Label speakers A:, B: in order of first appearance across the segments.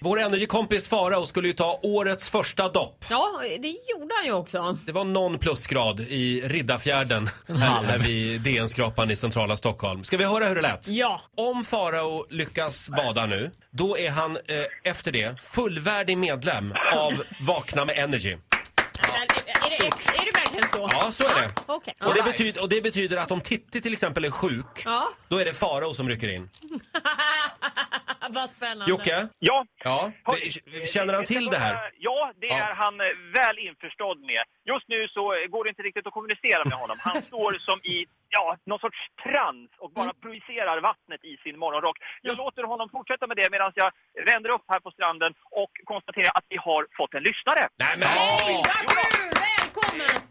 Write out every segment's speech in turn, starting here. A: Vår energikompis Farao skulle ju ta årets första dopp.
B: Ja, det gjorde han ju också.
A: Det var någon plusgrad i Riddarfjärden här, här vid DN-skrapan i centrala Stockholm. Ska vi höra hur det lät?
B: Ja.
A: Om Farao lyckas bada nu, då är han eh, efter det fullvärdig medlem av Vakna med Energy.
B: Är, det, är det verkligen så?
A: Ja, så är det.
B: Okej.
A: Och det, betyder, och det betyder att om Titti till exempel är sjuk,
B: Ja.
A: då är det Farao som rycker in.
B: Ja, Vad spännande.
A: Jocke?
C: Ja.
A: Ja? det- Känner han till det här?
C: Ja, det
A: Ja.
C: är han eh, väl införstådd med. Just nu så eh, går det inte riktigt att kommunicera med honom. Han står som i ja, någon sorts trans och bara
A: Mm.
C: projicerar vattnet i sin morgonrock. Jag låter honom fortsätta med det medan jag vänder upp här på stranden och konstaterar att vi har fått en lyssnare.
A: Nej men!
B: Hej, vad kul! Välkommen!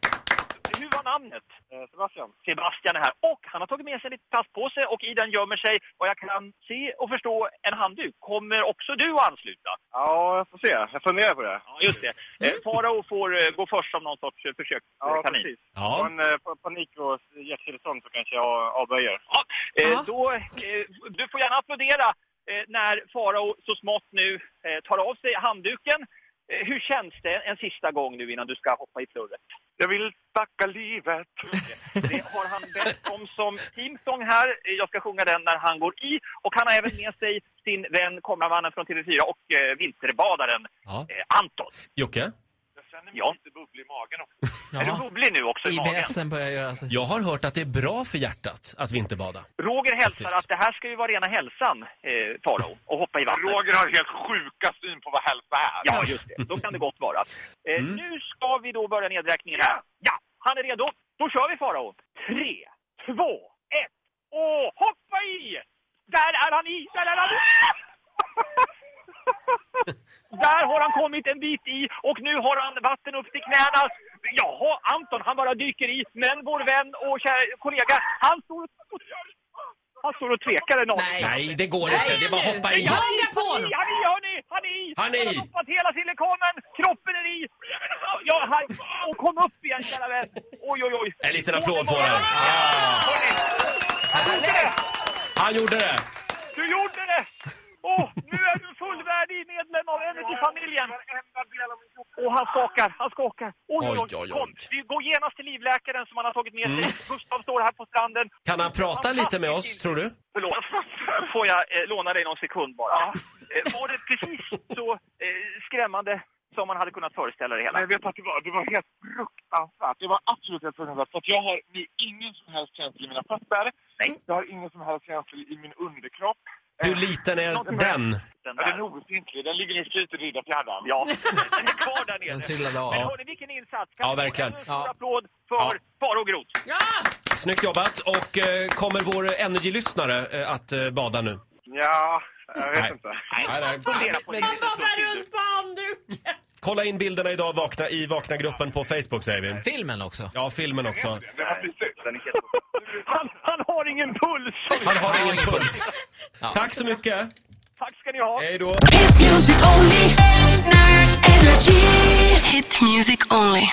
C: Hur var namnet?
D: Eh,
C: Sebastian. Sebastian är här. Och han har tagit med sig en liten plastpåse och i den gömmer sig, vad jag kan se och förstå, en handduk. Kommer också du att ansluta?
D: Ja, jag får se. Jag funderar på det.
C: Ja, just det. Eh, Farao får eh, gå först som någon sorts eh, försökskanin.
D: Ja, precis. På
A: Ja.
D: en eh, pa- panik och hjärtstillestånd så kanske jag avböjer.
C: Ja,
B: Ja.
C: eh, då, eh, du får gärna applådera eh, när Farao så smått nu eh, tar av sig handduken. Eh, hur känns det en sista gång nu innan du ska hoppa i plurret?
D: Jag vill tacka livet.
C: Det har han bett om som teamsång här. Eh, Jag ska sjunga den när han går i. Och han har även med sig sin vän, kameramannen från TV4 och eh, vinterbadaren
A: ja.
C: eh, Anton.
A: Jocke?
D: Jag känner mig
C: Ja.
D: lite bubblig i magen också.
C: Är du bubblig nu också i magen?
E: IBSen börjar göra sig.
A: Jag har hört att det är bra för hjärtat att vinterbada.
C: Roger
A: Faktiskt.
C: hälsar att det här ska ju vara rena hälsan, eh, Farao, och hoppa i vattnet.
D: Roger har helt sjuka syn på vad hälsa är.
C: Ja, just det. Då kan det gott vara. Eh, Nu ska vi då börja nedräkningen här. Ja, han är redo. Då kör vi Farao. Tre, två, ett och hoppa i! Där är han i! Där är han i! Där har han kommit en bit i och nu har han vatten upp till knäna. Jaha, Anton, han bara dyker i. Men vår vän och kära kollega, han står och, han står och tvekar en aning.
A: Nej, det går inte. Det är bara att hoppa i.
B: Ja, Haka på
C: Han
B: honom!
C: är i, han är i, hörni! Han är i!
A: Han är i.
C: har doppat hela silikonen, kroppen är i! Ja, han, och kom upp igen, kära vän! Oj, oj, oj!
A: En liten applåd får
C: Underbart.
A: han.
C: Hörni, han gjorde det!
A: Han gjorde det!
C: Du gjorde det! Åh, nu är du fullvärdig medlem av Energy-familjen! Och han skakar, han skakar. Oj,
A: Oj,
C: oj,
A: oj, oj.
C: oj. Kom, vi går genast till livläkaren som han har tagit med sig. Gustav står här på stranden.
A: Kan han prata lite med oss, tror du?
C: Förlåt, får jag eh, låna dig någon sekund bara? Eh, var det precis så eh, skrämmande som man hade kunnat föreställa det hela?
D: Men jag vet att det var, det var helt fruktansvärt. Det var absolut helt fruktansvärt. För att jag har nu ingen som helst känsla i mina fötter.
C: Nej.
D: Jag har ingen som helst känsla i min underkropp. Eh,
A: Hur liten är den?
C: Den
D: Ja,
C: där.
D: den är obefintlig. Den ligger nu och flyter i Riddarfjärden.
C: Ja, den är kvar där
E: Den
C: nere.
E: trillade
C: Men
E: av.
C: hörni, vilken insats!
A: Ja,
C: vi få
A: verkligen.
C: ännu en
E: Ja.
C: stor applåd för
A: Ja.
C: Farao Groth.
B: Ja!
A: Snyggt jobbat. Och eh, kommer vår Energy-lyssnare eh, att eh, bada nu?
D: Ja, jag vet
A: Nej.
D: inte.
C: Fundera på det.
B: Han bobblar runt på handduken!
A: Kolla in bilderna idag vakna, i Vakna-gruppen på Facebook, säger vi.
E: Filmen också.
A: Ja, filmen också.
D: Det var precis. Den är helt...
C: Han, han har ingen puls!
A: Han har ingen puls. Tack så mycket.
C: Tack ska ni ha!
A: Hej då.
F: Hit music only. Energy. Hit music only.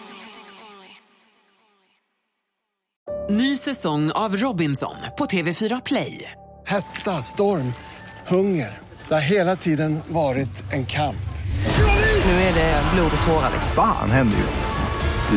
G: Ny säsong av Robinson på TV4 Play.
H: Hetta, storm, hunger. Det har hela tiden varit en kamp.
G: Nu är det blod och tårar. liksom.
I: Fan händer just nu.